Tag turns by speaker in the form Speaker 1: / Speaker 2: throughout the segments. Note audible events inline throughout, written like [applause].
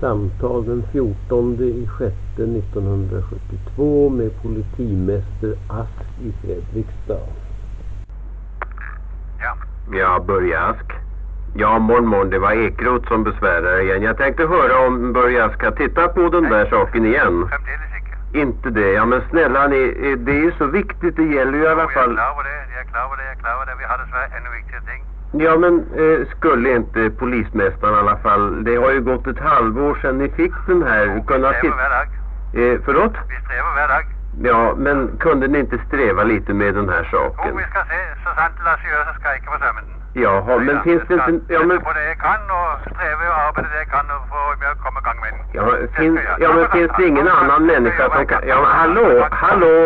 Speaker 1: samtal den 14 i sjätte 1972 med politimäster Ask i Fredrikstad.
Speaker 2: Ja, Börje Ask. Ja, morgon, morgon. Det var Ekrot som besvärar igen. Jag tänkte höra om Börje Ask har tittat på den där saken igen.
Speaker 3: Fremdeles ikke.
Speaker 2: Inte det. Ja, men snälla ni, eh, det är ju så viktigt. Det gäller ju i alla
Speaker 3: Jo, jeg er
Speaker 2: fall...
Speaker 3: klar over det. Jeg er klar over det. Jeg er klar over det. Vi har desværre enda vigtigere ting.
Speaker 2: Ja, men eh, skulle inte polismästaren i alla fall... Det har ju gått ett halvår sedan ni fick den här. Kunna
Speaker 3: Vi stræber
Speaker 2: titta...
Speaker 3: hver dag.
Speaker 2: Eh, förlåt?
Speaker 3: Vi stræber hver dag.
Speaker 2: Ja, men kunde ni inte sträva lite med den här
Speaker 3: Jo,
Speaker 2: saken?
Speaker 3: vi skal se. Så sant det lader sig gøre, så skal jeg ikke forsømme den.
Speaker 2: Jaha, men finns det inte... Ja, men...
Speaker 3: på det jeg kan, og stræve og arbejde det jeg kan, og få med at komme i gang med den.
Speaker 2: Ja, men finns, ja, men finns det ingen annan människa som kan... Ja, men hallå, hallå!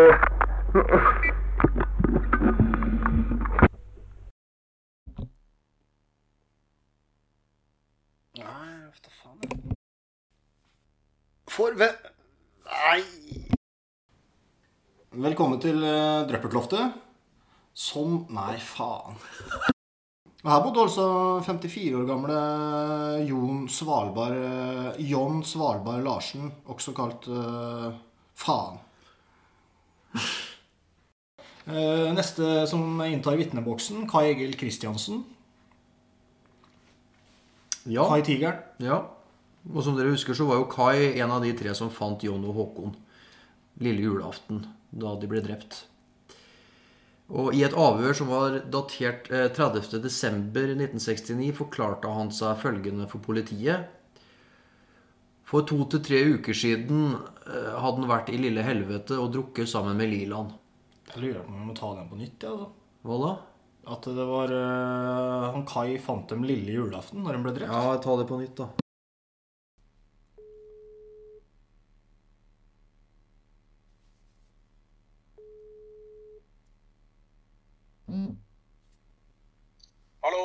Speaker 4: Nej, jag vet fan. For... Ve... Nei. Velkommen til uh, Drøppertloftet. Som Nei, faen. Og Her bodde altså 54 alltså år gamle eh, Jon Svalbard eh, John Svalbard Larsen, også kalt eh, Faen. Eh, neste som inntar vitneboksen, Kai Egil Kristiansen.
Speaker 5: Ja.
Speaker 4: Kai Tigeren.
Speaker 5: ja. Og som dere husker, så var jo Kai en av de tre som fant John og Håkon lille julaften da de ble drept. Og i et avhør som var datert eh, 30. desember 1969, forklarte han seg følgende for politiet. For to til tre uker siden eh, hadde han vært i lille helvete og drukket sammen med Liland.
Speaker 4: Jeg lurer på om vi må ta den på nytt, alltså. ja, altså.
Speaker 5: Hva da?
Speaker 4: At det var eh, Han Kai fant dem lille julaften når han ble drept.
Speaker 5: Ja, ta det på nytt, da.
Speaker 6: Hallo.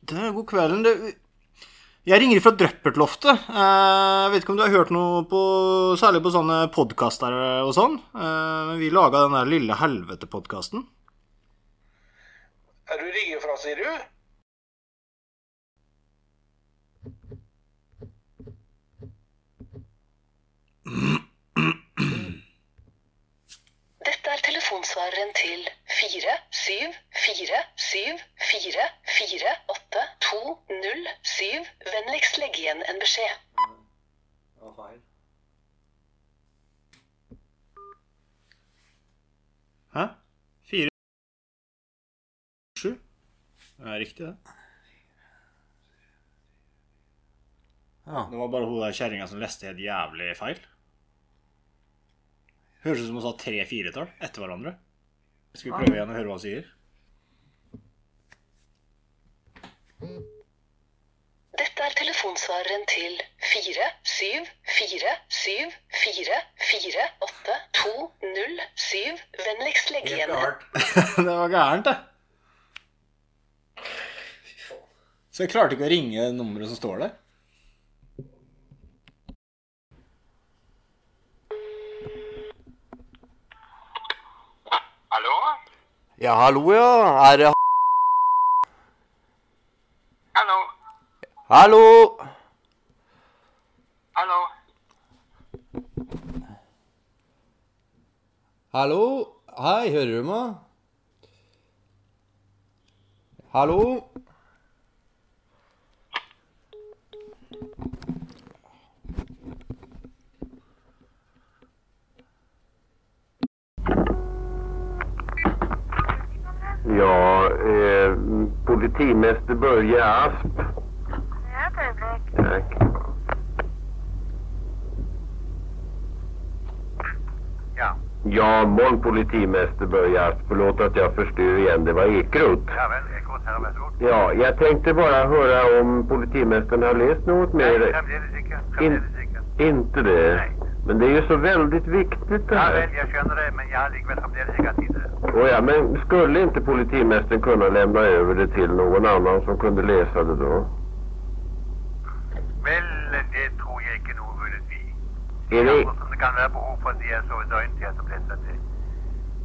Speaker 4: Du, god kvelden. Du. Jeg ringer fra Drøppertloftet. Eh, Jeg vet ikke om du har hørt noe på, særlig på sånne podkaster og sånn. Eh, Men vi laga den der Lille helvete-podkasten.
Speaker 6: Er du ringer fra, sier du?
Speaker 7: Dette er telefonsvareren til 4 7 4 7 4 4 8 2 0 7. Vennligst legg igjen en beskjed.
Speaker 4: Hæ? Fire Sju? Det er riktig, det.
Speaker 5: Ja.
Speaker 4: Det var bare hun der kjerringa som leste helt jævlig feil. Høres ut som hun sa tre firetall etter hverandre. Skal vi prøve igjen og høre hva hun sier?
Speaker 7: Dette er telefonsvareren til 4 7 4 7 4 4 8 2 0 7. Vennligst legg igjen en
Speaker 4: [laughs] Det var gærent, det. Så jeg klarte ikke å ringe nummeret som står der.
Speaker 3: Hallo?
Speaker 5: Ja, hallo, ja. Er det
Speaker 3: Hallo?
Speaker 5: Hallo!
Speaker 3: Hallo?
Speaker 5: Hallo? Hei, hører du meg? Hallo?
Speaker 2: Ja, eh, politimäster Börje Asp. Tack.
Speaker 3: Ja.
Speaker 2: Ja, morgon politimäster Börje Asp. Förlåt att jeg forstyrrer igjen. Det var Ekrot.
Speaker 3: Ja vel, jeg går her, vær så god.
Speaker 2: Ja, jeg tenkte bare høre om politimästaren har läst något
Speaker 3: Nei,
Speaker 2: mer.
Speaker 3: Fremdeles ikke. Fremdeles ikke.
Speaker 2: Inte det? Men det är ju så väldigt viktigt det
Speaker 3: Ja
Speaker 2: här.
Speaker 3: vel, jeg skjønner det, men jeg har likevel fremdeles ikke hatt tid til det.
Speaker 2: Oh ja, men skulle inte politimästaren kunna lämna över det till någon annan som kunde läsa det då?
Speaker 3: Vel, det tror jeg ikke noe vunnet vi.
Speaker 2: Är det,
Speaker 3: Som det kan være behov for at de er så døgnet til som leser det.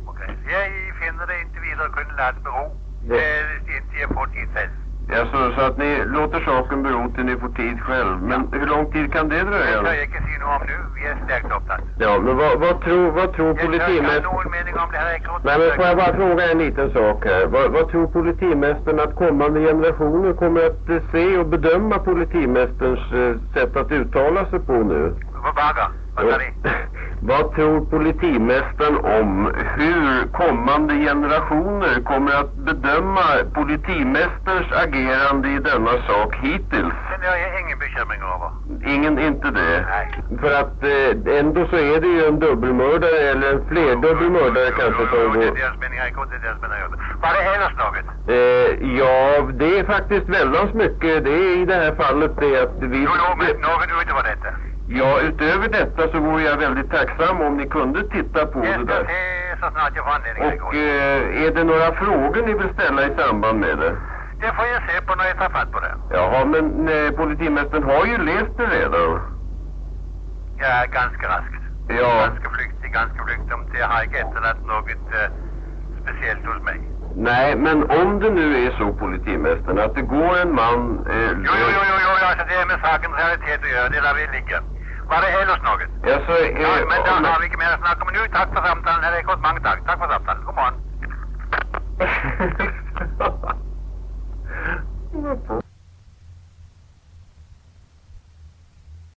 Speaker 3: Ok, så jeg finner det inntil videre å kunne la det bero.
Speaker 2: Ja.
Speaker 3: eh, Inntil jeg får tid selv.
Speaker 2: Ja, så, så att ni låter saken bero till ni får tid själv. Men hur lång tid kan det
Speaker 3: Det
Speaker 2: dröja? då?
Speaker 3: kan jeg ikke si noe om nå. Vi er sterkt opptatt.
Speaker 2: Ja, men vad, vad tror, vad tror
Speaker 3: Jeg tør ikke ha
Speaker 2: politimästaren...
Speaker 3: noen mening om det her. Jeg
Speaker 2: Nej, men får jag bara fråga en liten sak här. Vad, vad tror politimästaren att kommande generationer kommer att eh, se och bedöma politimästerns eh, sätt att uttala sig på nu?
Speaker 3: På Baga. Hva sa de?
Speaker 2: [laughs] Vad tror politimästaren om hur kommande generationer kommer att bedöma politimästerns agerande i denna sak hittills?
Speaker 3: Den har jeg ingen bekymring over.
Speaker 2: Ingen, inte det.
Speaker 3: Nej.
Speaker 2: För att eh, ändå så är det ju en dubbelmördare eller en flerdubbel mördare kanske
Speaker 3: Jo, jo, jo,
Speaker 2: som
Speaker 3: det
Speaker 2: går.
Speaker 3: er deres mening. Jeg er godt i deres mening. også. Var det ellers noe?
Speaker 2: Eh, ja, det är faktiskt väldigt mycket. Det är i det här fallet det att vi...
Speaker 3: Jo, jo, men noe utover dette.
Speaker 2: Ja, utöver detta så vore jag väldigt tacksam om ni kunde titta på
Speaker 3: Jeg
Speaker 2: det
Speaker 3: skal
Speaker 2: där.
Speaker 3: se så snart jeg får anledning. til å
Speaker 2: Och
Speaker 3: gå.
Speaker 2: eh, är det några frågor ni vill ställa i samband med det?
Speaker 3: Det får jeg se på når jeg tar fatt på det.
Speaker 2: Jaha, men eh, politimästaren har ju läst det redan.
Speaker 3: Ja, ganske raskt.
Speaker 2: Ja,
Speaker 3: Ganske flyktig, ganske flyktig. Det har ikke etterlatt noe eh, spesielt hos meg.
Speaker 2: nej, men om det nu är så politimästaren att det går en man... Eh,
Speaker 3: Jo, jo, jo, jo, jo altså, det er med sakens realitet å gjøre. Det lar vi ligge. Var det ellers noe?
Speaker 2: Alltså, eh,
Speaker 3: Ja, men da
Speaker 2: om-
Speaker 3: har vi ikke mer å snakke om nå. Takk for samtalen. Her har jeg gått mange takk. Takk for samtalen. God morgen.